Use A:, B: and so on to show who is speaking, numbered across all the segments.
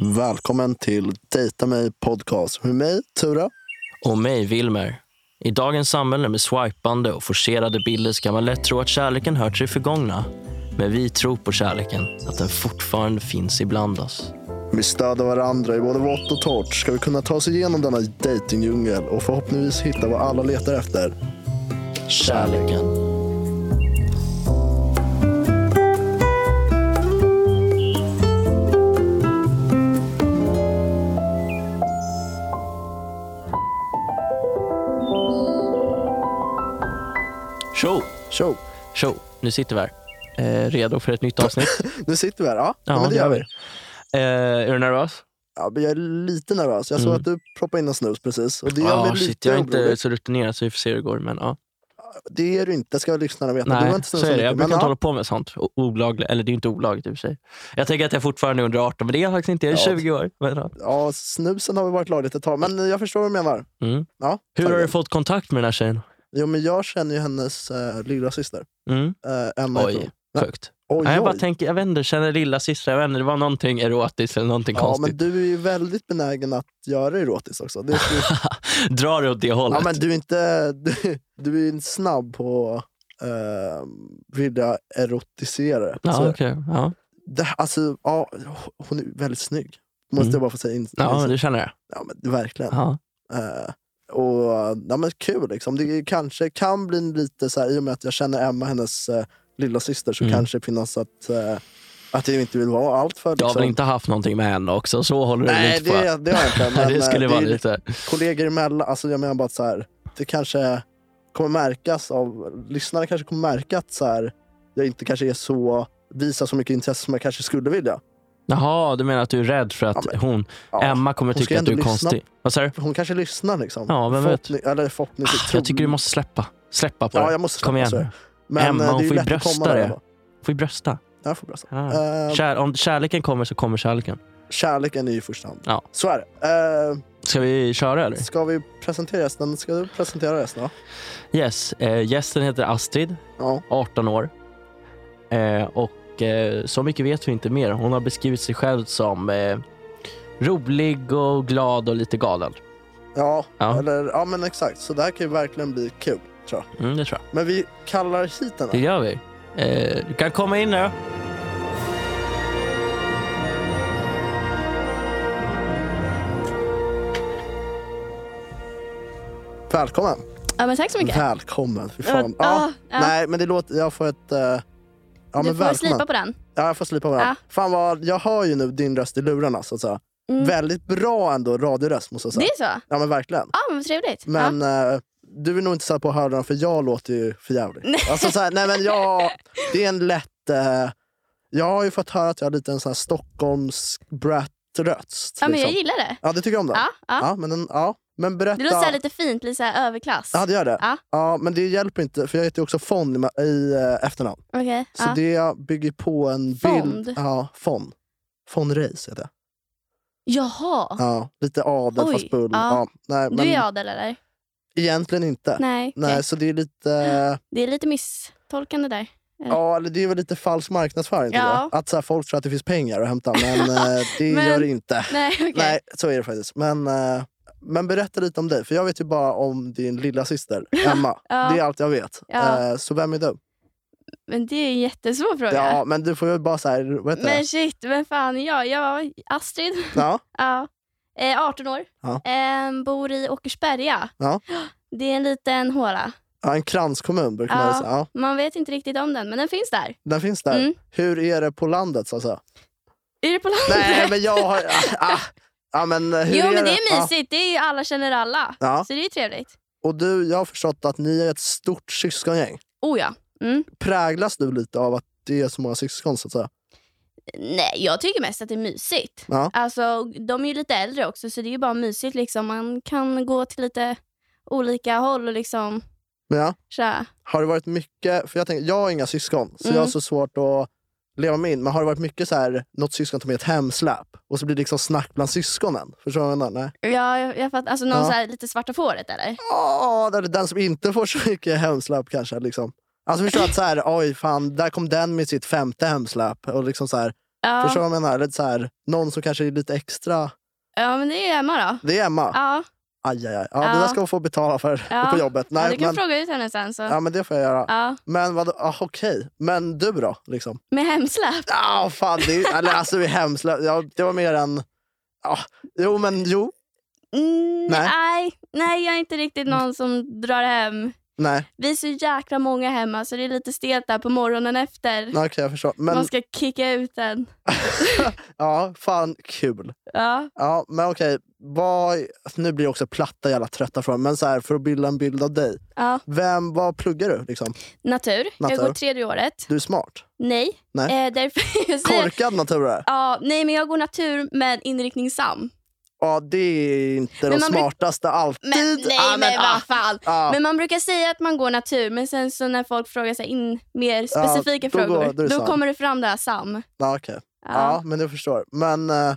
A: Välkommen till Dejta mig podcast med mig, Tura.
B: Och mig, Wilmer. I dagens samhälle med swipande och forcerade bilder ska man lätt tro att kärleken hör till det förgångna. Men vi tror på kärleken, att den fortfarande finns ibland oss.
A: Med stöd av varandra i både vått och torrt ska vi kunna ta oss igenom denna dejtingdjungel och förhoppningsvis hitta vad alla letar efter.
B: Kärleken. Tjo!
A: Tjo!
B: Tjo! Nu sitter vi här. Eh, redo för ett nytt avsnitt.
A: Nu sitter vi här. Ja,
B: Ja,
A: men det gör vi.
B: Eh, är du nervös?
A: Ja, men jag är lite nervös. Jag såg
B: Mm.
A: att du proppade in en snus precis. Och det gör
B: Ja,
A: mig
B: shit,
A: lite
B: jag är inte
A: orolig.
B: så rutinerad så vi får se hur det går. Men, ja.
A: Det är du inte, ska lyssnarna veta. du har
B: Nej,
A: inte
B: så
A: snusat
B: är det.
A: mycket,
B: Jag brukar
A: men
B: inte
A: ja.
B: hålla på med sånt. O- Olagligt. Eller det är ju inte olagligt i och för sig. Jag tänker att jag fortfarande är under 18, men det är jag faktiskt inte. Jag är
A: Ja.
B: 20 år. Men, ja.
A: Ja, snusen har väl varit lagligt ett tag, men jag förstår vad du menar.
B: Mm.
A: Ja,
B: Hur har
A: tack.
B: du fått kontakt med den här tjejen?
A: Jo, men jag känner ju hennes eh, lilla syster.
B: Mm.
A: Eh, Emma heter
B: Oj,
A: hon. Nej.
B: sjukt.
A: Oj,
B: Nej, jag bara
A: oj.
B: tänker, jag vet inte, känner lilla syster, jag vet inte, det var någonting erotiskt eller någonting
A: Ja,
B: konstigt.
A: men du är ju väldigt benägen att göra erotiskt också. Det är,
B: Drar det åt det hållet?
A: ja, men du är inte... Du, du är ju inte snabb på eh, vilja erotisera det.
B: Ja,
A: Så,
B: okej. ja.
A: det. Alltså, ja, hon är väldigt snygg. Måste
B: Mm.
A: jag bara få säga. In,
B: ja
A: in-
B: du känner det?
A: ja, men, verkligen.
B: Ja.
A: Eh, och ja, men kul liksom. Det är- kanske kan bli en lite så här, i och med att jag känner Emma, hennes eh, lilla syster, så
B: Mm.
A: kanske det finns att, eh, att jag inte vill vara allt för...
B: Du har väl
A: liksom-
B: inte haft någonting med henne också? Så håller du
A: Nej,
B: lite på?
A: det, det har jag inte. Men,
B: det
A: eh,
B: skulle
A: är
B: vara
A: ju-
B: lite...
A: kollegor emellan. Alltså jag menar bara att så här, det kanske kommer märkas av, lyssnarna kanske kommer märka att så här, jag inte kanske är så, visar så mycket intresse som jag kanske skulle vilja.
B: Jaha, du menar att du är rädd för att
A: Ja, men-
B: hon,
A: Ja.
B: Emma kommer
A: Hon ska
B: tycka att du är
A: ändå lyssna.
B: konstig? Vad sa du?
A: Hon kanske lyssnar liksom.
B: Ja, vem vet? Ah,
A: Förhoppning- Eller förhoppningsvis.
B: Jag tycker du måste släppa. Släppa på
A: Ja,
B: det.
A: jag måste
B: Kom igen
A: så är det.
B: nu.
A: Men
B: Emma,
A: eh, det
B: hon
A: är ju
B: får ju
A: lätt att komma
B: brösta
A: där
B: det.
A: ändå.
B: Får ju brösta.
A: Jag får brösta.
B: Ja.
A: Eh,
B: Kär, om kärleken kommer så kommer kärleken.
A: kärleken är ju i första hand.
B: Ja.
A: Så är det.
B: Ska vi köra eller?
A: Eh, ska vi presentera gästen? Ska du presentera gästen? då?
B: Yes. Eh, gästen heter Astrid,
A: Ja.
B: 18 år. Eh, och eh, så mycket vet vi inte mer. Hon har beskrivit sig själv som eh, rolig och glad och lite galen.
A: Ja.
B: Ja.
A: Eller, ja, men exakt. Så det här kan ju verkligen bli kul, tror jag.
B: Mm, det tror jag.
A: Men vi kallar hit henne.
B: Det gör vi. Eh, du kan komma in nu.
A: Välkommen!
C: Ja, men tack så mycket.
A: Välkommen. Fy fan.
C: Ja,
A: Ja,
C: ja.
A: Nej, men det låter... Jag får ett... eh, ja,
C: du
A: men
C: får
A: välkommen.
C: slipa på den.
A: Ja, jag får slipa på den.
C: Ja.
A: Fan vad, jag hör ju nu din röst i lurarna. Så att säga.
C: Mm.
A: Väldigt bra ändå radioröst måste jag
C: Det
A: säga.
C: är så?
A: Ja, men verkligen.
C: Ja, men vad trevligt.
A: Men eh, du är nog inte så här på hörlurarna för jag låter ju för jävligt. Alltså, så här, nej, men jag, det är en lätt... eh, jag har ju fått höra att jag har lite en sån här Stockholms brat röst.
C: ja. ja, men jag
A: liksom.
C: gillar det.
A: ja, du tycker om den?
C: Ja, ja.
A: Ja, men, den, ja. men berätta.
C: Det låter så här lite fint, lite så här överklass.
A: Ja, det gör det.
C: Ja.
A: men det hjälper inte, för jag heter ju också Fond i, ma- i eh, efternamn.
C: Okej.
A: Så
C: ja.
A: det bygger på en
C: Fond?
A: bild... Ja, Fond. Fond Reis heter jag.
C: Jaha.
A: Ja, lite adel
C: Oj,
A: fast bull. Ja.
C: ja.
A: nej, men
C: Du är adel eller?
A: Egentligen inte. Nej.
C: Nej. okej.
A: så det är lite eh,
C: Det är lite misstolkande där.
A: ja, eller det är väl lite falsk marknadsföring. tycker
C: Ja.
A: jag. Att så här, folk tror att det finns pengar att hämta, men eh, det
C: Men-
A: gör det inte.
C: Nej, okej.
A: Nej, så är det faktiskt. Men, eh, men berätta lite om dig, för jag vet ju bara om din lilla syster Emma.
C: Ja.
A: Det är allt jag vet.
C: Ja.
A: Eh, så vem är du?
C: Men det är en jättesvår fråga.
A: Ja, men du får ju bara så här, vad heter det?
C: men shit, vem fan är jag? Jag Astrid.
A: Ja.
C: Ja. Eh, 18 år.
A: Ja.
C: Eh, bor i Åkersberga.
A: Ja.
C: Det är en liten håla.
A: Ja, en kranskommun brukar man
C: Ja.
A: ju säga. Ja,
C: Man vet inte riktigt om den, men den finns där.
A: den finns där.
C: Mm.
A: Hur är det på landet så att säga?
C: Är det på landet?
A: Nej men jag har... Ah, ah, ah, men hur
C: Jo
A: är
C: men det
A: Ja.
C: är mysigt, det är ju alla känner alla.
A: Ja.
C: Så det är ju trevligt.
A: Och du, jag har förstått att ni är ett stort syskongäng.
C: Oh ja. Mm.
A: Präglas du lite av att det är så många syskon så att säga?
C: Nej, jag tycker mest att det är mysigt.
A: Ja.
C: Alltså, de är ju lite äldre också så det är ju bara mysigt. Liksom. Man kan gå till lite olika håll och liksom
A: Men ja,
C: tja.
A: har det varit mycket... För jag, tänker, jag har inga syskon, så
C: Mm.
A: jag har så svårt att leva mig in. Men har det varit mycket så här, något syskon tar med ett hemsläp och så blir det liksom snack bland syskonen? Förstår du vad jag menar? Nej.
C: Ja, jag, jag fattar. Alltså någon
A: Mm. Ja.
C: så här lite svarta fåret eller?
A: Ja, Ah, det är den som inte får så mycket hemsläp kanske. Liksom. Alltså förstår du att så här, oj fan, där kom den med sitt femte hemsläp. Och liksom så här,
C: Ja,
A: Förstår du vad jag menar? Lite så här, någon som kanske är lite extra.
C: ja men det är Emma då.
A: Det är Emma.
C: Ja,
A: Aj, aj, aj. Ja,
C: Ja.
A: Det där ska hon få betala för
C: Ja.
A: på jobbet.
C: ja
A: Nej,
C: du kan
A: men,
C: fråga ut henne sen. Så.
A: ja, men det får jag göra.
C: Ja.
A: Men vadå? Ah, Okej, men du då? Liksom.
C: Med hemsläp.
A: Ah, fan, det, är- eller, alltså, vi är hemskt. Ja, det var mer än... Ah, jo, men jo.
C: Mm,
A: Nej.
C: nej. nej, jag är inte riktigt någon som drar hem.
A: Nej,
C: Vi är så jäkla många hemma så det är lite stelt där på morgonen efter.
A: nej okej, jag förstår. Men
C: Man ska kicka ut den.
A: ja, fan kul.
C: Ja.
A: Ja, men okej. Vad, nu blir det också platta jävla trötta från men så här, för att bilda en bild av dig.
C: Ja.
A: Vem, vad pluggar du? Liksom?
C: Natur. Jag
A: Natur.
C: går tredje året.
A: Du är smart.
C: Nej.
A: Nej.
C: Eh, därför jag säger,
A: Korkad natur är.
C: ja, nej, men jag går natur men inriktning sam.
A: Ja, det är inte
C: Men
A: de
C: man bruk-
A: smartaste alltid.
C: Men nej,
A: ah,
C: men
A: ah,
C: vad fan.
A: ah.
C: Men man brukar säga att man går natur, men sen så när folk frågar sig in mer specifika
A: då går-
C: frågor,
A: då är det
C: då
A: Sam.
C: kommer det fram det här Sam.
A: Ja, okej.
C: Ja.
A: Ja, men jag förstår. Men eh,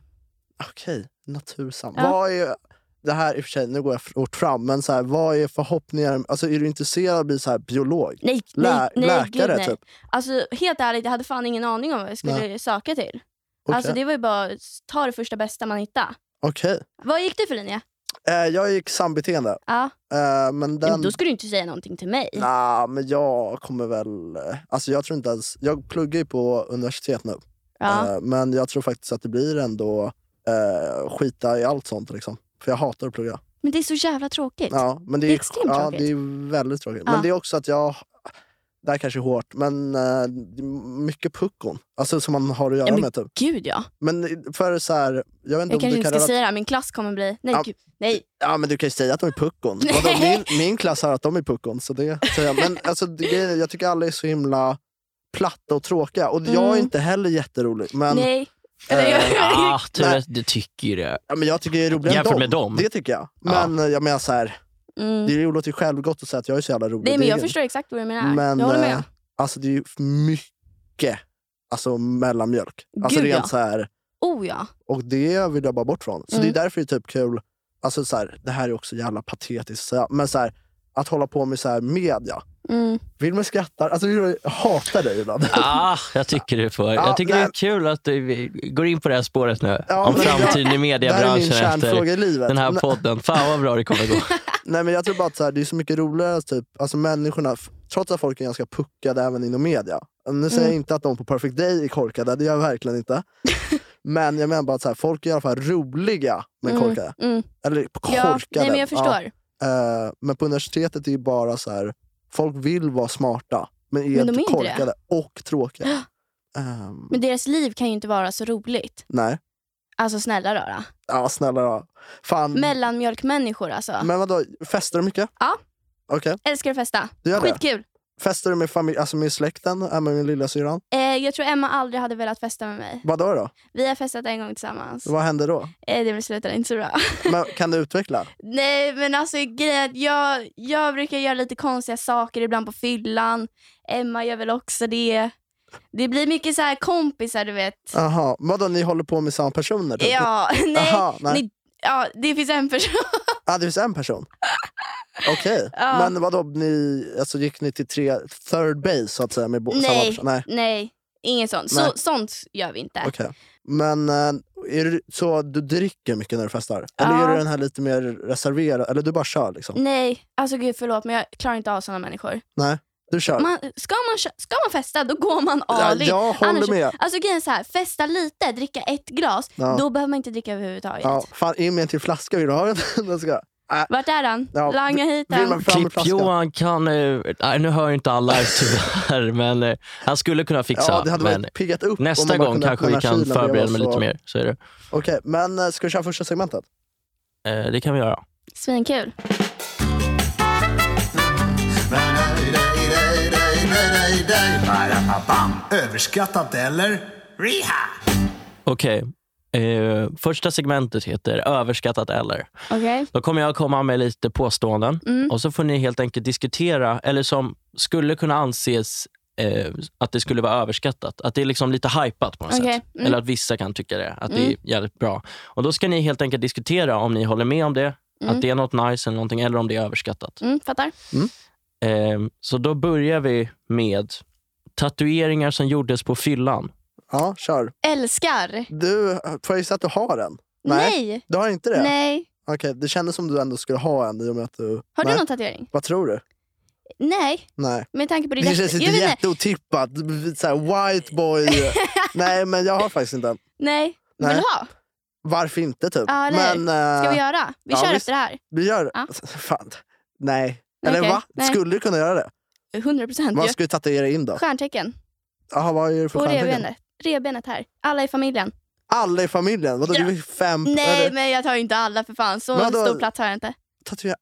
A: okej, natursam.
C: Ja.
A: Vad är, det här i och för sig, nu går jag fort fram, men så här, vad är förhoppningar? Alltså är du intresserad av att bli så här biolog?
C: Nej,
A: Lä-
C: nej, nej,
A: läkare
C: gud, nej.
A: typ?
C: Alltså helt ärligt, jag hade fan ingen aning om vad jag skulle söka till.
A: Okej.
C: Alltså det var ju bara att ta det första bästa man hittade.
A: Okej.
C: Vad gick du för linje?
A: Eh, jag gick sambeteende.
C: Ja.
A: Eh, men
C: Nej,
A: den...
C: men Då skulle du inte säga någonting till mig.
A: Nah, men jag kommer väl... eh, Alltså jag tror inte ens... Jag pluggar ju på universitet nu.
C: Ja.
A: Eh, men jag tror faktiskt att det blir ändå eh, skita i allt sånt liksom. För jag hatar att plugga.
C: Men det är så jävla tråkigt.
A: Ja, men det är,
C: Det är extremt
A: ja,
C: tråkigt.
A: det är väldigt tråkigt. Men
C: Ja.
A: det är också att jag... Det här kanske är hårt, men eh, mycket puckon. Alltså som man har att göra
C: Ja, men-
A: med. Typ.
C: Gud ja.
A: Men för så här, jag vet inte
C: Jag
A: om du
C: kanske inte
A: kan
C: ska
A: relatera.
C: säga det här, min klass kommer bli... Nej,
A: Ja.
C: gud. Nej.
A: Ja, men du kan ju säga att de är puckon.
C: Nej.
A: Vadå, min, min klass har att de är puckon. Så det, säger jag. Men alltså, det, grejen är, jag tycker alla är så himla platta och tråkiga. Och jag är
C: Mm.
A: inte heller jätterolig. Men,
C: nej.
A: eh,
C: Eller jag-
B: Ah, tur
A: Nej.
B: att du tycker ju det.
A: ja, men jag tycker jag är roligare
B: Jämfört
A: än
B: med dem.
A: Det tycker jag.
B: Ja.
A: Men eh, jag menar så här,
C: Mm.
A: det låter ju självgott att säga att jag är så jävla rolig.
C: Nej,
A: Det
C: men
A: är
C: jag
A: ju-
C: förstår exakt vad du menar.
A: Men,
C: jag håller
A: eh,
C: med.
A: Alltså det är ju mycket alltså, mellanmjölk. Alltså
C: Gud,
A: rent
C: ja.
A: så här,
C: Oh ja.
A: och det vill jag bara bort från. Så
C: Mm.
A: det är därför det är typ kul, alltså så här, det här är också jävla patetiskt, att säga, men så här, att hålla på med så här media.
C: Mm.
A: Vilmer skrattar, alltså jag hatar dig ibland.
B: Ah, jag tycker du får.
A: Ja,
B: Jag tycker det
A: nej.
B: är kul att du vi går in på det här spåret nu.
A: Ja,
B: om
A: men-
B: framtiden i
A: Det här är min
B: mediebranschen efter
A: kärnfråga i livet.
B: den här
A: Nej,
B: podden. Fan vad bra det kommer gå.
A: Nej, men jag tror bara att så här, det är så mycket roligare, typ, alltså människorna, f- trots att folk är ganska puckade även inom media. Nu säger
C: Mm.
A: jag inte att de på Perfect Day är korkade, det gör jag verkligen inte. Men jag menar bara att så här, folk är i alla fall roliga men
C: Mm.
A: korkade.
C: Mm.
A: Eller
C: Ja.
A: korkade.
C: Nej, men jag
A: Ja.
C: förstår.
A: Eh, men på universitetet är ju bara så här, folk vill vara smarta men är
C: Men de är
A: inte
C: inte
A: korkade och tråkiga. Ehm,
C: Men deras liv kan ju inte vara så roligt.
A: Nej,
C: Alltså snälla rara.
A: ja snälla då. Fan.
C: Mellanmjölkmänniskor alltså.
A: Mm. Men vadå, festar du mycket?
C: Ja.
A: Okej,
C: Älskar att festa.
A: du gör det?
C: Skitkul.
A: Festar du med, familj, alltså med släkten, äh, med min lillasyrran?
C: Eh, jag tror Emma aldrig hade velat festa med mig.
A: Vadå då?
C: Vi har festat en gång tillsammans.
A: Vad hände då?
C: Eh, det slutade inte så bra.
A: Men, kan du utveckla?
C: Nej men alltså grejen är att jag, jag brukar göra lite konstiga saker ibland på fyllan. Emma gör väl också det. Det blir mycket så här kompisar du vet.
A: Jaha, vadå ni håller på med samma personer? Typ?
C: Ja, nej.
A: Aha, nej.
C: Ni, ja, det finns en person.
A: Ah, det finns en person? Okej,
C: Ja.
A: men vadå, ni, alltså, gick ni till tre, third base så att säga med bo- samma
C: Nej.
A: person? Nej.
C: Nej, inget sånt.
A: Nej.
C: Så, sånt gör vi inte.
A: Okej. Men eh, är du, så du dricker mycket när du festar? Eller
C: Ja.
A: är du den här lite mer reserverad? Eller du bara kör liksom?
C: Nej, alltså gud förlåt men jag klarar inte av sådana människor.
A: Du kör?
C: Man, ska, man, kö- ska man festa då går man
A: ja,
C: all in.
A: jag håller
C: Annars-
A: med.
C: Alltså grejen är så här, festa lite, dricka ett glas,
A: Ja.
C: då behöver man inte dricka överhuvudtaget.
A: Ja, fan, in med en till flaska. Vill du ha den? Jag ska-
C: Vart är han?
A: Ja,
C: Langa hit
A: Vill
C: han.
A: man fram med flaskan?
B: Klipp-Johan kan... eh, Nej, nu hör ju inte alla tyvärr, men eh, han skulle kunna fixa.
A: Ja, det hade
B: liksom. men
A: väl piggat upp. om man
B: nästa
A: bara
B: gång
A: kunde
B: kanske
A: öppna
B: vi
A: den här
B: kan
A: kylen bredvid
B: förbereda
A: oss
B: mig
A: och-
B: lite mer. Så är det.
A: Okej, men eh, ska vi köra första segmentet?
B: Eh, det kan vi göra.
C: Svinkul.
D: Överskattat eller? Reha!
B: Okej. Eh, första segmentet heter överskattat eller.
C: Okej.
B: Då kommer jag komma med lite påståenden
C: Mm.
B: och så får ni helt enkelt diskutera, eller som skulle kunna anses eh, att det skulle vara överskattat. Att det är liksom lite hypat på något
C: Okej,
B: sätt.
C: mm.
B: Eller att vissa kan tycka det, att det är
C: Mm.
B: jävligt bra. Och Då ska ni helt enkelt diskutera om ni håller med om det,
C: Mm.
B: att det är något nice eller någonting, eller om det är överskattat. Ehm,
C: Mm, fattar.
B: Eh, så då börjar vi med tatueringar som gjordes på fyllan.
A: Ja, kör.
C: Älskar.
A: Du, eh, får jag gissa att du har en?
C: Nej.
A: Du har inte det?
C: Nej.
A: Okej, det kändes som du ändå skulle ha en i och med att du...
C: Har
A: Nej.
C: du någon tatuering?
A: Vad tror du?
C: Nej,
A: Nej.
C: med tanke på det.
A: Det känns inte jätteotippat. Såhär white boy. Nej, men jag har faktiskt inte en.
C: Nej. Vill
A: Nej.
C: du ha?
A: Varför inte typ?
C: Ja, eller hur?
A: men
C: Ska
A: eh,
C: vi göra? Vi
A: ja,
C: kör
A: visst.
C: efter det här.
A: vi gör det.
C: Ja.
A: Fan. Nej. Eller
C: Okej,
A: va?
C: nej.
A: Skulle du kunna göra det?
C: 100 procent
A: Man skulle tatuera in då.
C: Stjärntecken.
A: Jaha, vad är det för
C: På
A: stjärntecken?
C: revbenet. Revbenet här. Alla i familjen.
A: Alla i familjen? Vadå, du Mm, är fem...
C: Nej,
A: eller,
C: men jag tar ju inte alla för fan. Så
A: Men då-
C: stor plats har jag inte.
A: tatuera,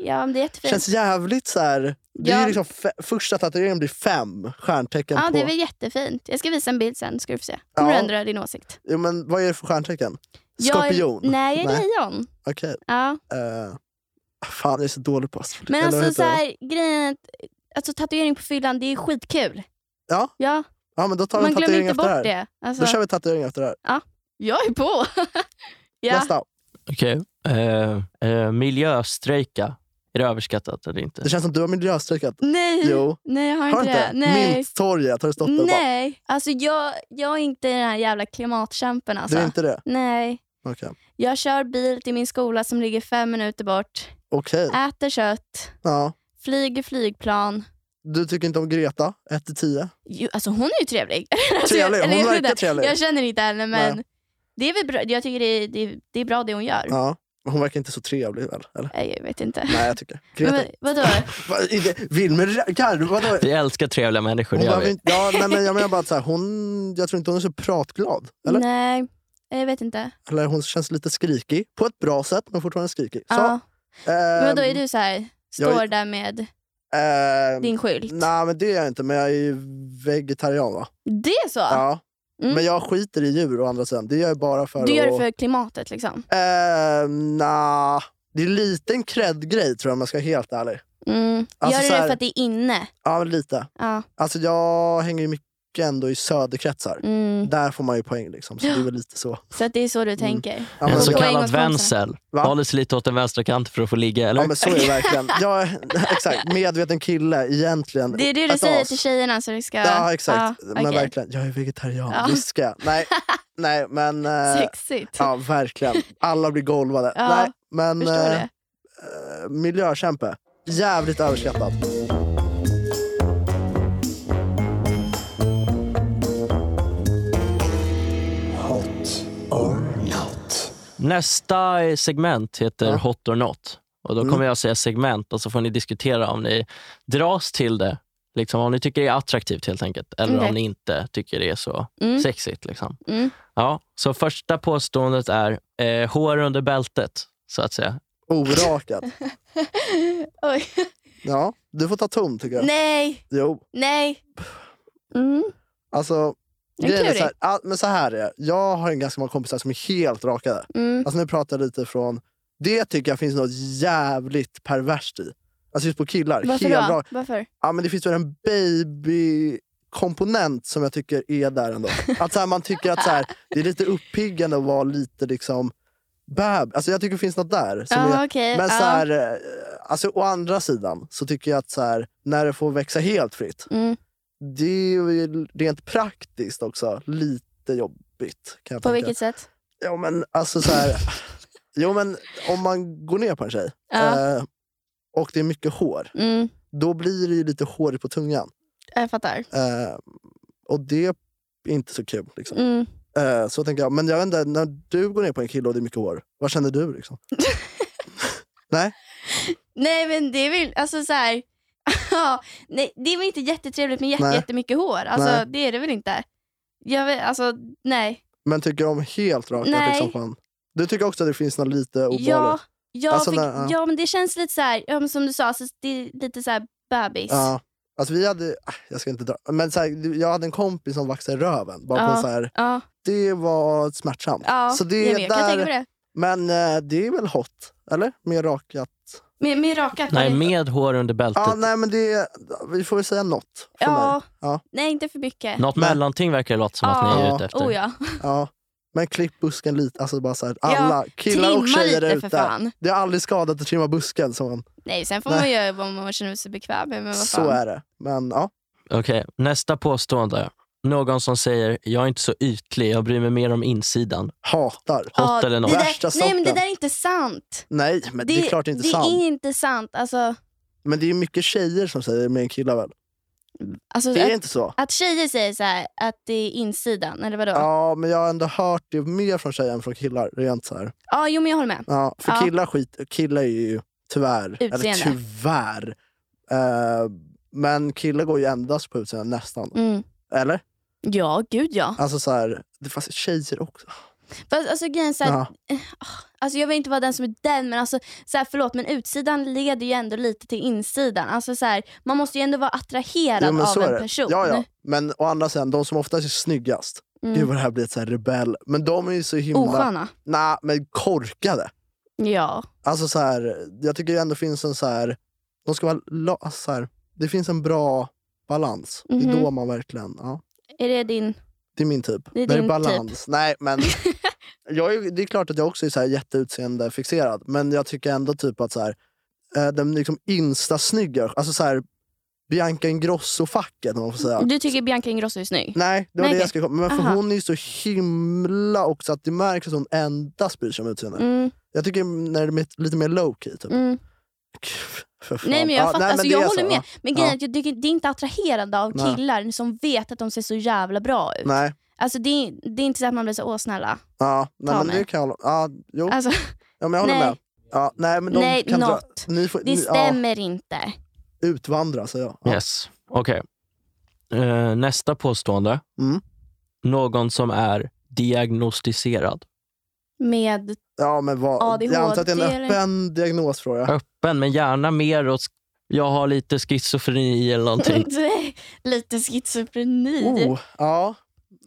C: Ja, men det är jättefint.
A: känns jävligt så här. Det är
C: Ja.
A: ju liksom fe, första tatueringen blir fem stjärntecken
C: Ja,
A: på...
C: det är väl jättefint. Jag ska visa en bild sen ska du få se. Kommer
A: Ja.
C: du ändra din åsikt?
A: Jo, men vad är det för stjärntecken?
C: Jag är-
A: Skorpion?
C: Nej, jag är lejon.
A: Okej.
C: Ja.
A: eh, fan, jag är så dålig på astrologi.
C: Men
A: Eller vad
C: alltså så
A: heter det?
C: här, grejen är att alltså, tatuering på fyllan, det är skitkul.
A: Ja.
C: ja
A: Ja, men då tar vi
C: man
A: en
C: glömmer
A: tatuering
C: inte
A: efter
C: bort
A: det här.
C: det. Alltså,
A: Då kör vi tatuering efter det här.
C: Jag är på! ja.
A: Nästa.
B: Okej. Eh, eh, miljöstrejka. Är det överskattat eller inte?
A: Det känns som du har miljöstrekat.
C: Nej,
A: Jo.
C: nej jag har,
A: Har du
C: inte det.
A: inte?
C: Nej.
A: Mynttorget, har det stått där och bara,
C: nej, alltså jag, jag är inte den här jävla klimatkämpen alltså.
A: Du är inte det?
C: Nej.
A: Okej.
C: Jag kör bil till min skola som ligger fem minuter bort,
A: Okej.
C: äter kött,
A: Ja.
C: flyger flygplan.
A: Du tycker inte om Greta, 1 till 10.
C: Jo, alltså hon är ju trevlig. Alltså, jag-
A: Trevlig,
C: eller
A: hon
C: jag vet
A: verkar
C: inte.
A: trevlig.
C: Jag känner inte henne men
A: Nej.
C: det är väl bra. jag tycker det är, det, är, det är bra det hon gör.
A: Ja. Men Hon verkar inte så trevlig väl? Eller?
C: Nej, Jag vet inte.
A: Nej, jag tycker. Greta,
C: Men, vadå?
A: vad är det? Wilmer Garv, vadå?
B: Vi älskar trevliga människor,
A: Hon
B: det gör
A: behöver
B: vi.
A: inte, ja, nej, men jag menar bara att så här, hon, jag tror inte hon är så pratglad. Eller?
C: Nej, jag vet inte.
A: eller hon känns lite skrikig. På ett bra sätt, men fortfarande skrikig. Så,
C: Ja. Men vadå,
A: ehm,
C: är du så här, står
A: jag-
C: där med
A: ehm,
C: din skylt?
A: Nej, men det är jag inte. Men jag är ju vegetarian va?
C: Det är så?
A: Ja.
C: Mm.
A: Men jag skiter i djur å andra sidan. Det gör jag bara för
C: du gör
A: att...
C: det för klimatet liksom?
A: Eh, nja, det är en liten cred-grej tror jag om jag ska vara helt ärlig.
C: Mm.
A: Alltså,
C: gör du
A: så
C: det
A: här-
C: för att det är inne?
A: Ja, men lite.
C: Ja.
A: Alltså jag hänger ju mycket ändå i söderkretsar.
C: Mm.
A: Där får man ju poäng liksom. Så det är väl lite så.
C: Så att det är så du tänker?
A: Mm. Ja,
B: En
A: men,
B: så
C: poäng
B: kallad
C: åt kompisarna.
B: vänsel.
A: Va?
B: Håller sig lite åt den vänstra kanten för att få ligga, eller?
A: ja, men så är det verkligen. Jag är, exakt, medveten kille egentligen.
C: Det är det du
A: Ett
C: säger
A: as.
C: till tjejerna så du ska...
A: Alltså- Ja, exakt.
C: Ja,
A: Men
C: okej.
A: verkligen, jag är vegetarian.
C: Ja.
A: Visst ska jag. Nej, nej men... eh,
C: Sexigt.
A: ja, verkligen. Alla blir golvade.
C: Ja,
A: nej, men
C: Förstår
A: eh,
C: det?
A: eh, miljökämpe. Jävligt överskattad.
D: Hot or not.
B: Nästa eh, segment heter
A: Ja.
B: Hot or not. Och då
A: Mm.
B: kommer jag säga segment och så får ni diskutera om ni dras till det. Liksom om ni tycker det är attraktivt helt enkelt. Eller
C: Okej.
A: Mm.
B: om ni inte tycker det är så
C: Mm.
B: sexigt. Liksom.
C: Mm.
B: Ja, så första påståendet är eh, hår under bältet, så att säga.
A: Orakad.
C: Oj.
A: Ja, du får ta ton tycker jag.
C: Nej,
A: Jo,
C: nej. Mm.
A: alltså.
C: Det är
A: grejen är
C: klurig.
A: så här, ja, men så här är det. Jag har en ganska många kompisar som är helt rakade.
C: Mm.
A: Alltså nu pratar jag lite från... Det tycker jag finns något jävligt perverst i. Alltså just på killar.
C: Varför
A: helt
C: då?
A: rak-
C: Varför?
A: Ja, men det finns väl en baby komponent som jag tycker är där ändå. Att så här, man tycker att så här, det är lite uppiggande att vara lite liksom bab. Alltså jag tycker det finns något där. Som är,
C: Ja, okej.
A: men så
C: Ja.
A: här, eh, alltså, å andra sidan så tycker jag att så här, när det får växa helt fritt,
C: Mm.
A: det är ju rent praktiskt också lite jobbigt. Kan jag
C: På
A: tänka.
C: vilket sätt?
A: Jo men alltså så här, jo, men om man går ner på en tjej
C: Ja.
A: eh, och det är mycket hår,
C: Mm.
A: då blir det ju lite hårigt på tungan.
C: Jag fattar.
A: Eh, och det är inte så kul. Liksom.
C: Mm.
A: Eh, så tänker jag. Men jag vet inte, när du går ner på en kille och det är mycket hår, vad känner du? Liksom?
C: Nej men det är väl, alltså så här. ja, nej, det är väl inte jättetrevligt med jätte,
A: Nej.
C: jättemycket hår. Alltså
A: Nej.
C: det är det väl inte. Jag vet, alltså nej.
A: Men tycker om helt raka
C: Nej.
A: liksom, fan. Du tycker också att det finns något lite obehagligt?
C: Ja, ja,
A: Alltså,
C: för,
A: när- ja.
C: ja men det känns lite så här, ja, men som du sa, alltså, det är lite så här bebis.
A: Ja. Alltså vi hade, ah, jag ska inte dra, men så här, jag hade en kompis som vaxade röven. Bara
C: Ja.
A: på så här,
C: Ja,
A: det var smärtsamt.
C: ja.
A: så
C: Nej,
A: det
C: men jag kan
A: där,
C: tänka mig det.
A: Men eh, det är väl hot? Eller? Mer rakat?
C: Med, med rakat.
B: Nej,
C: eller?
B: med hår under bältet.
A: Ja, nej, men det, vi får väl säga något för mig.
C: ja.
A: Ja.
C: Nej inte för mycket.
B: Något
A: Nej.
B: mellanting verkar det låta som att ni är
A: Ja.
B: ute efter.
C: Oh, ja.
A: Ja. Men klipp busken lite. Alltså bara så här,
C: Ja,
A: alla killar
C: Trimma
A: och tjejer
C: lite
A: där
C: för
A: ute.
C: fan.
A: Det har aldrig skadat att trimma busken. Så, man,
C: Nej sen får
A: Nej.
C: man göra vad man känner sig bekväm med. Men vad
A: så
C: fan.
A: är det. Men ja.
B: Okej, nästa påstående. Någon som säger jag är inte så ytlig, jag bryr mig mer om insidan.
A: Hatar.
B: Hot eller
C: det
B: något.
A: Värsta
C: där, nej, men det
A: sorten.
C: där är inte sant.
A: Nej, men det, är klart det är inte sant.
C: Det är inte sant. Alltså,
A: Men det är mycket tjejer som säger det, mer än killar väl?
C: alltså,
A: Det är
C: att,
A: inte så.
C: att tjejer säger så här, att det är insidan, eller vadå? Ja,
A: Ja, men jag har ändå hört det mer från tjejer än från killar. Rent så här.
C: jo, men jag håller med.
A: Ja, för
C: Ja.
A: killar skit, killar är ju tyvärr,
C: Utseende.
A: eller tyvärr, eh, men killar går ju endast på utseende nästan.
C: Mm.
A: Eller?
C: Ja, gud ja.
A: Alltså så här, det fanns tjejer också.
C: Fast, alltså, grejen, är så här,
A: Ja.
C: Alltså jag vill inte vara den som är den, men alltså, så här, förlåt men utsidan leder ju ändå lite till insidan. Alltså, så här, man måste ju ändå vara attraherad
A: Jo, men
C: av
A: så är
C: en
A: det.
C: person.
A: Ja, ja. Men å andra sidan, de som oftast är snyggast,
C: Mm.
A: gud vad det här blir ett så här rebell. Men de är ju så himla...
C: Osköna.
A: Nej, men korkade.
C: Ja.
A: Alltså så här, jag tycker ju ändå finns en så här, de ska vara, la- alltså så här, det finns en bra balans. Det
C: Mhm.
A: är då man verkligen, ja.
C: Är det din...
A: Det är min typ.
C: Det är din
A: balans. Nej, men jag är, det är klart att jag också är så här jätteutseendefixerad. Men jag tycker ändå typ att så här, eh, den liksom instasnygga, alltså så här, Bianca Ingrosso-facket om man får säga.
C: Du tycker Bianca Ingrosso är snygg?
A: Nej, det var
C: Nej,
A: det
C: okej.
A: jag skulle komma Men för
C: Aha.
A: hon är ju så himla också att det märks att hon endast bryr sig om utseende.
C: Mm,
A: Jag tycker när det är lite mer low key. Typ.
C: mm.
A: För fan.
C: Nej men jag
A: Ja,
C: fattar,
A: men
C: alltså,
A: det
C: jag
A: är
C: håller
A: så,
C: med.
A: ja.
C: Men grejen är att jag tycker det är inte attraherande av
A: Nej.
C: killar som vet att de ser så jävla bra ut.
A: Nej,
C: Alltså det är, det är inte så att man blir så åh snälla.
A: ja, nej
C: Ta
A: men
C: mig.
A: det kan jag hålla, ja, jo,
C: Alltså,
A: ja, men jag håller
C: nej.
A: med. Ja, nej, men de
C: Nej,
A: kan dra,
C: not.
A: ni får,
C: det
A: ni, ja,
C: stämmer inte.
A: utvandra säger jag. Ja.
B: Yes. Okej. Eh, nästa påstående.
A: Mm.
B: Någon som är diagnostiserad.
C: Med,
A: Ja, men vad,
C: ADHD
A: jag antar att det är en
C: eller-
A: öppen diagnosfråga.
B: Öppen, men gärna mer åt jag har lite schizofreni eller någonting.
C: lite schizofreni.
A: Typ. Oh, ja,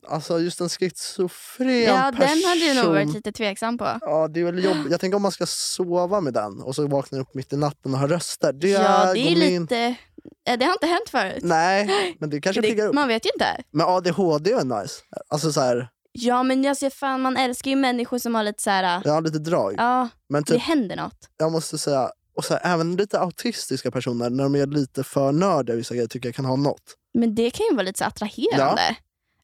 A: alltså just en schizofren
C: Ja,
A: person.
C: den hade du nog varit lite tveksam på.
A: Ja, det är väl jobb... Jag tänker om man ska sova med den och så vaknar upp mitt i natten och har röster. Det
C: ja, det är
A: går
C: ju
A: min-
C: lite... eh, Det har inte hänt förut.
A: Nej, men det kanske piggar
C: det,
A: upp.
C: man vet ju inte.
A: Men ADHD är nice. Alltså så här,
C: Ja, men jag ser fan, man älskar ju människor som har lite så här...
A: jag har lite drag.
C: Ja,
A: Men
C: det
A: typ,
C: händer något.
A: jag måste säga, och så här, även lite autistiska personer, när de är lite för nördiga i vissa grejer, tycker jag kan ha något.
C: Men det kan ju vara lite så attraherande.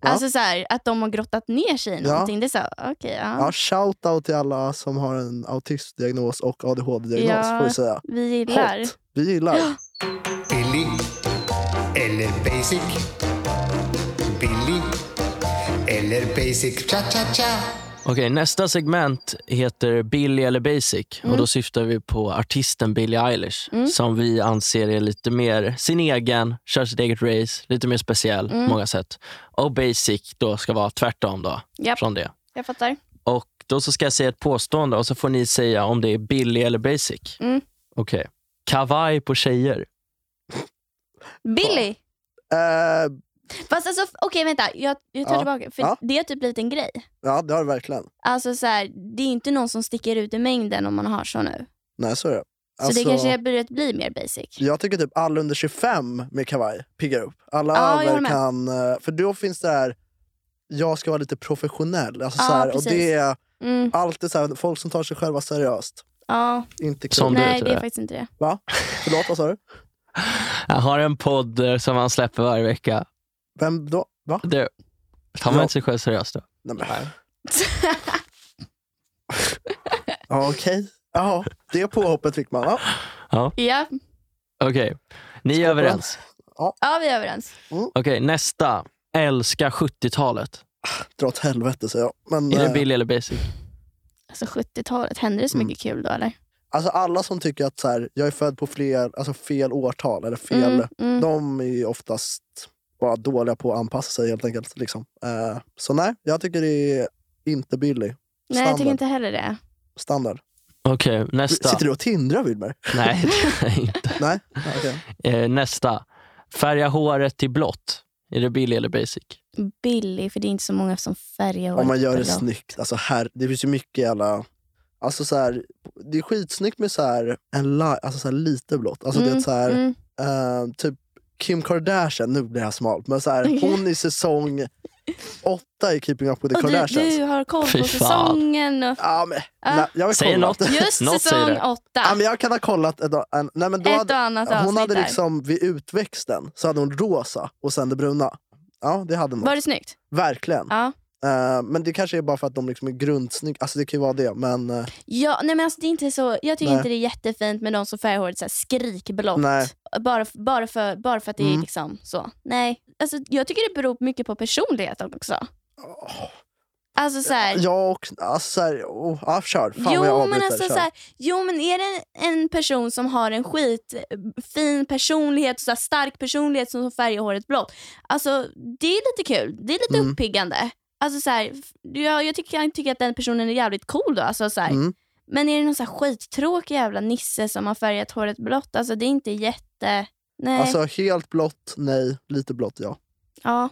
A: Ja.
C: Alltså så här, att de har grottat ner sig i
A: Ja.
C: någonting. Det är så, här, okej, ja.
A: Ja, shout-out till alla som har en autistdiagnos och ADHD-diagnos,
C: Ja.
A: får vi säga.
C: Vi gillar.
A: Hot. Vi gillar.
D: Billig eller basic? Billig eller basic? Cha-cha-cha!
B: Okej, nästa segment heter Billy eller Basic.
C: Mm.
B: Och Då syftar vi på artisten Billie Eilish som vi anser är lite mer sin egen, kör sitt eget race, lite mer speciell
C: Mm.
B: på många sätt. Och Basic då ska vara tvärtom då,
C: Japp.
B: från det.
C: Jag fattar.
B: Och Då så ska jag säga ett påstående och så får ni säga om det är Billy eller Basic.
C: Mm.
B: Okej. Kavaj på tjejer.
C: Billy!
A: Eh,
C: Fast alltså, f- okej vänta. Jag, jag tar
A: Ja.
C: tillbaka. För
A: Ja.
C: det är typ lite en grej.
A: ja, det har det verkligen.
C: Alltså så här, det är inte någon som sticker ut i mängden om man har så nu.
A: Nej, så är det. Alltså,
C: Så det kanske börjat bli mer basic.
A: Jag tycker typ alla under 25 med kavaj piggar upp. Alla
C: Ja, jag håller
A: över
C: med.
A: kan... eh, För då finns det här, jag ska vara lite professionell. Alltså
C: Ja,
A: så här, och
C: precis.
A: det är
C: Mm,
A: alltid så här, folk som tar sig själva seriöst.
C: ja.
A: Inte
B: Som
A: kul.
B: du
C: Nej,
B: heter
C: det är
B: det.
C: faktiskt inte det.
A: Va? Förlåt, vad sa du?
B: Jag har en podd eh, som han släpper varje vecka.
A: Vem då? Va?
B: Det, tar man
A: Ja.
B: inte sig själv seriöst då?
A: Nej, men. Ja, Okej. Ja, det påhoppet fick man. Ja.
C: ja.
B: Okej, ni är överens.
C: ja, vi är överens.
B: Okej, nästa. Älska 70-talet.
A: Dra åt helvete, säger jag. Men,
B: Är det
A: eh,
B: Billy eller Basic?
C: Alltså 70-talet, hände det så
A: Mm.
C: mycket kul då eller?
A: alltså alla som tycker att så här, jag är född på fler, alltså fel årtal eller fel...
C: Mm, mm.
A: De är ju oftast bara dåliga på att anpassa sig helt enkelt. Liksom. Eh, så nej, jag tycker det är inte billig.
C: Nej, jag tycker
A: Standard.
C: inte heller det.
A: Standard.
B: Okej, nästa.
A: Sitter du och tindrar Wilmer?
B: Nej, det är jag inte.
A: Nej? Ja, okej.
B: Eh, nästa. Färga håret till blått. Är det Billy eller Basic?
C: Billy, för det är inte så många som färgar
A: Om man
C: håret
A: gör det
C: blått.
A: snyggt. Alltså här, det finns ju mycket jävla... Alltså så här, det är skitsnyggt med så här, en li- alltså så här lite blått. Alltså det är så här,
C: mm.
A: eh, typ Kim Kardashian, nu blir det här smalt, men så här, hon i säsong åtta i Keeping Up With The
C: Och du,
A: Kardashians.
C: du har koll
B: Fy
C: på
B: fan.
C: säsongen. Och...
A: Ja, men,
C: Ah.
A: nej, jag vill
B: Säg
A: kolla.
B: något.
C: Just
B: Något säger
C: säsong
B: det.
C: åtta.
A: Ja, men jag kan ha kollat. Ett, en, nej, men då
C: Ett
A: hade, liksom-
C: och annat
A: hon
C: avsnitt
A: hade
C: där.
A: liksom vid utväxten så hade hon rosa och sen det bruna. ja, det hade man.
C: Var det snyggt?
A: Verkligen.
C: Ja.
A: Eh, men det kanske är bara för att de liksom är grundsnygga. Alltså det kan ju vara det. Men eh,
C: Ja, nej men alltså det är inte så, jag tycker
A: Nej.
C: inte det är jättefint med någon som färgar håret så här skrikblått.
A: Nej.
C: Bara, f- bara, för, bara för att det är
A: Mm.
C: liksom så. Nej, alltså, jag tycker det beror mycket på personligheten också.
A: åh,
C: Alltså så här,
A: jag och... Alltså, så här, oh, ja, kör. Fan vad jag
C: jo, men
A: avbryter.
C: alltså,
A: Kör.
C: så här, jo men är det en, en person som har en skitfin personlighet, så här, stark personlighet som färgar håret blått. Alltså det är lite kul, det är lite
A: Mm.
C: uppiggande. Alltså, så här, f- jag, jag tycker, jag tycker att den personen är jävligt cool då. Alltså, så här.
A: Mm.
C: Men är det någon så här skittråkig jävla nisse som har färgat håret blått? Alltså det är inte jätte... Nej.
A: Alltså helt blått, nej. Lite blått, ja.
C: ja.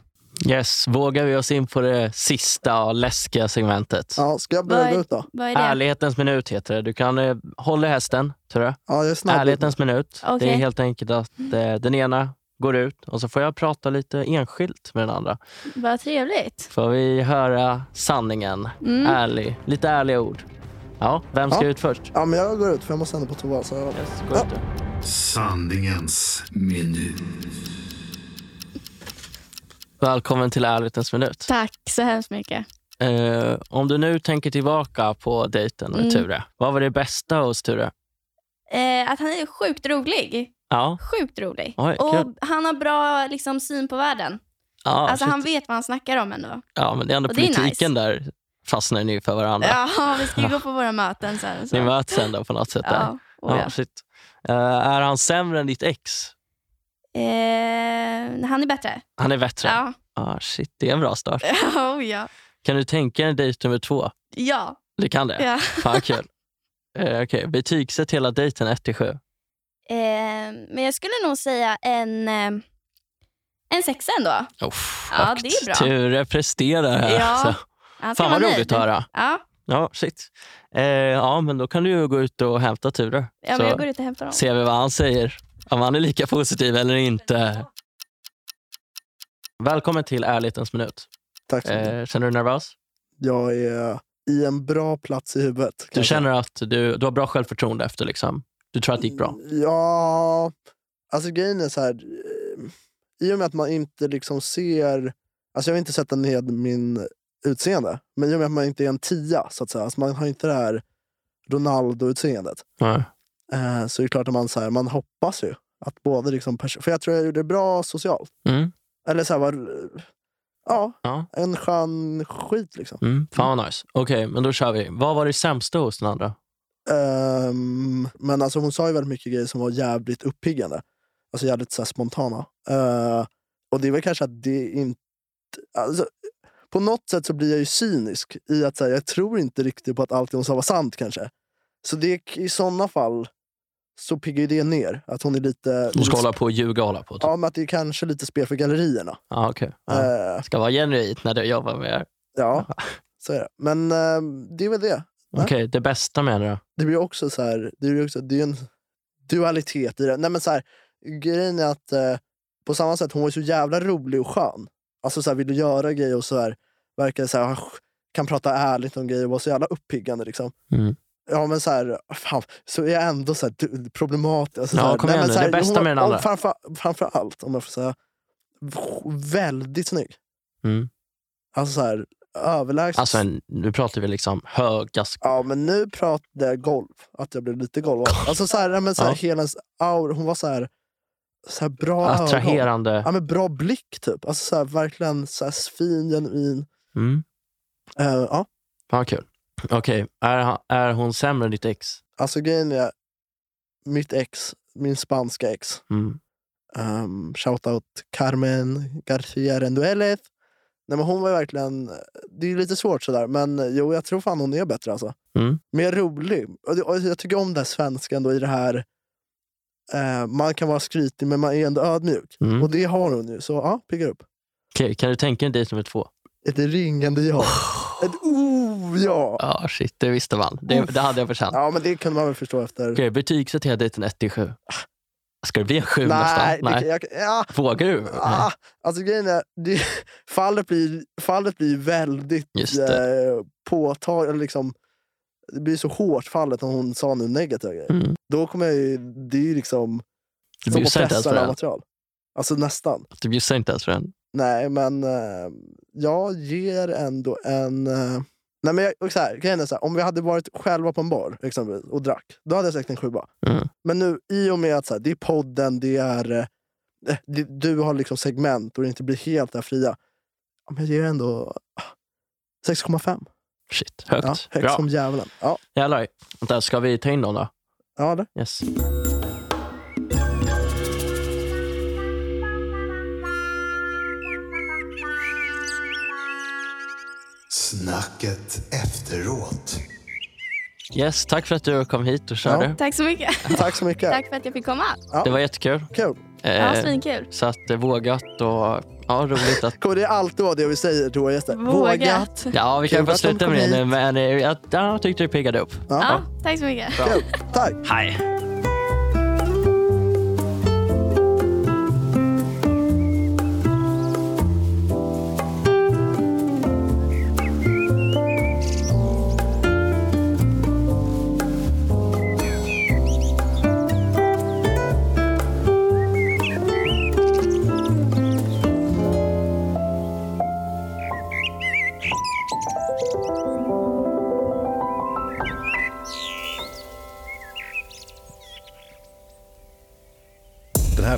B: Yes, vågar vi oss in på det sista och läskiga segmentet?
A: ja ska jag
C: Vad
A: blöda
C: är-
A: ut då?
C: Vad är det?
B: Ärlighetens minut heter det. Du kan eh, hålla i hästen, tror jag.
A: Ja, jag är snabb.
B: Ärlighetens minut. Det
C: Okej. Mm.
B: är helt enkelt att eh, den ena går ut och så får jag prata lite enskilt med den andra.
C: Vad trevligt.
B: Får vi höra sanningen.
C: Mm.
B: Ärlig. Lite ärliga ord. Ja, vem ska
A: Ja.
B: ut först?
A: Ja, men jag går ut för jag måste ändå på toa. Så...
B: Yes, gå ut du.
D: Sanningens minut.
B: Välkommen till ärlighetens minut.
C: Tack så hemskt mycket.
B: Eh, om du nu tänker tillbaka på dejten med
C: Mm.
B: Ture. Vad var det bästa hos Ture?
C: Eh, att han är sjukt rolig.
B: Ja,
C: Sjukt rolig.
B: Oj,
C: och
B: kul.
C: Han har bra liksom, syn på världen.
B: ja,
C: alltså
B: shit.
C: Han vet vad han snackar om ändå.
B: ja men det är ändå
C: och det är
B: politiken där fastnar ni ju för varandra.
C: Ja, vi ska ju gå på våra möten sen. Så.
B: Ni möts ändå på något sätt. Där.
C: ja. Oh, ja.
B: Ja, shit. Eh, är han sämre än ditt ex?
C: Eh, han är bättre.
B: Han är bättre?
C: Ja.
B: Ah, shit, det är en bra start.
C: Oh, ja.
B: Kan du tänka dig dejt nummer två?
C: Ja.
B: Du kan det?
C: ja.
B: Fan vad kul. Eh, okej. Betygsätt hela dejten 1-7.
C: Eh, men jag skulle nog säga en, eh, en sexa ändå.
B: Oh,
C: Ja, det är bra.
B: Ture presterar här.
C: Ja,
B: alltså.
C: Han ska
B: Fan vad
C: vara
B: roligt
C: nöjd.
B: att höra.
C: Ja,
B: Ja, shit. Eh, ja, men då kan du ju gå ut och hämta Ture.
C: ja
B: Så
C: men jag går ut och hämtar honom.
B: ser vi vad han säger. Om han är lika positiv eller inte. Välkommen till ärlighetens minut.
A: Tack så mycket.
B: Eh, känner du dig nervös?
A: Jag är i en bra plats i huvudet. kan
B: Du
A: jag säga.
B: känner att du, du har bra självförtroende efter liksom. Du tror att det gick
C: Mm.
B: bra.
A: Ja, alltså grejen är så här. eh, I och med att man inte liksom ser... Alltså jag vill inte sätta ned min utseende. Men i och med att man inte är en tia, så att säga. Alltså man har inte det här Ronaldo-utseendet.
B: Ja.
A: Eh, så det är klart att man, så här, man hoppas ju. Att både liksom pers- för jag tror jag gjorde det bra socialt.
B: Mm.
A: Eller så här, var, ja,
B: Ja.
A: en skön skit liksom.
B: Mm. Fan vad nice. Okej, men då kör vi. Vad var det sämsta hos den andra?
A: Ehm, men alltså hon sa ju väldigt mycket grejer som var jävligt uppiggande. Alltså jävligt så här spontana. Eh, och det är väl kanske att det inte... Alltså, på något sätt så blir jag ju cynisk i att så här, jag tror inte riktigt på att allt hon sa var sant kanske. Så det, i sådana fall så piggar ju det ner. Att hon är lite...
B: Hon ska hålla på och ljuga och hålla på. Typ. Ja.
A: Ja, men att det är kanske lite spel för gallerierna.
B: Ah, okej. Ja.
A: Eh,
B: Ska vara genuint när du jobbar med er.
A: ja, så är det. Men eh, det är väl det. Ja.
B: Okej, det bästa menar du?
A: det blir också så här, det blir också, det är ju en dualitet i det. Nej men så här, grejen är att eh, på samma sätt, hon var ju så jävla rolig och skön. Alltså så här, ville göra grejer och så här, verkade så här, ah, kan prata ärligt om grejer och var så jävla uppiggande liksom.
B: Mm.
A: Ja men så här, fan, så är jag ändå så här du- problematisk. Alltså,
B: Ja,
A: så här,
B: kom
A: nej,
B: igen
A: men
B: nu,
A: så här,
B: det bästa
A: hon-
B: med den
A: och
B: andra.
A: Framför, framför allt, om jag får säga, väldigt snygg.
B: Mm.
A: Alltså så här, överlägset.
B: Alltså, en, nu pratar vi liksom höga... sk-
A: Ja, men nu pratade jag golv. Att jag blev lite golv. Alltså så här, ja, men så här,
B: Ja.
A: hela hennes aura. Hon var så här, så här bra ögon.
B: Attraherande.
A: Ja, men bra blick typ. Alltså så här, verkligen så här, fin, genuin.
B: Mm.
A: Eh, ja.
B: Fan vad kul. Okej, är, han- är hon sämre än ditt ex?
A: Alltså grejen är, mitt ex, min spanska ex.
B: Mm.
A: Um, shoutout Carmen Garcia Rendueles. Nej, men hon var ju verkligen, det är ju lite svårt sådär, men jo, jag tror fan hon är bättre. Alltså.
B: Mm.
A: Mer rolig. Och det- och jag tycker om det här svenska ändå i det här, eh, man kan vara skrytig men man är ändå ödmjuk.
B: Mm.
A: Och det har hon ju, så ja, piggar upp.
B: Okej, kan du tänka dig en dejt nummer två?
A: Ett ringande ja. Ett oh ja!
B: Ja, shit, det visste man. Det, det hade jag förtjänat.
A: Ja, men det kunde man väl förstå efter.
B: Okej, betygsätt hela dejten 1-7. Ska det bli en
A: Nej,
B: 7 nästan?
A: det,
B: Nej. Mm.
A: kan- jag, ja,
B: Vågar du? Nej.
A: Ah, alltså grejen är, det, fallet, blir, fallet blir väldigt
B: Just
A: eh, påtagligt. Liksom, det blir så hårt fallet om hon sa nu negativa grejer.
B: Mm.
A: Då kommer jag ju, det är ju liksom
B: Du
A: som att
B: bjussar inte ens
A: pressa
B: på
A: det här
B: den.
A: material. Alltså nästan.
B: Du bjussar inte ens på den.
A: Nej, men eh, jag ger ändå en... Eh, nej, men jag, och så här, grejen är så här, om vi hade varit själva på en bar exempelvis, och drack, då hade jag sagt en sjua.
B: Mm.
A: Men nu, i och med att så här, det är podden, det är... eh, Det, du har liksom segment och det inte blir helt där fria. Ja, Men jag ger ändå ah, 6,5.
B: Shit,
A: Ja,
B: högt.
A: högt
B: Bra.
A: som djävulen. Ja,
B: Jävlar. Vänta, ska vi ta in dem då?
A: ja det.
B: Yes.
D: Snacket efteråt.
B: yes, tack för att du kom hit och körde.
C: Tack så mycket.
A: Tack så mycket.
C: Tack för att jag fick komma.
B: Det var jättekul.
A: Kul.
C: Ja,
B: Eh,
C: svinkul.
B: så att eh, vågat och ja, roligt att...
A: Kommer det är alltid vara det vi säger till våra gäster?
C: Vågat.
B: Ja, vi kan
A: Kul
B: få
A: att de
B: sluta
A: kom
B: med det
A: hit.
B: nu, men eh, jag, ja, jag tyckte du piggade upp.
C: Ja, tack så mycket.
A: Kul. Tack.
B: Hej.
E: Den här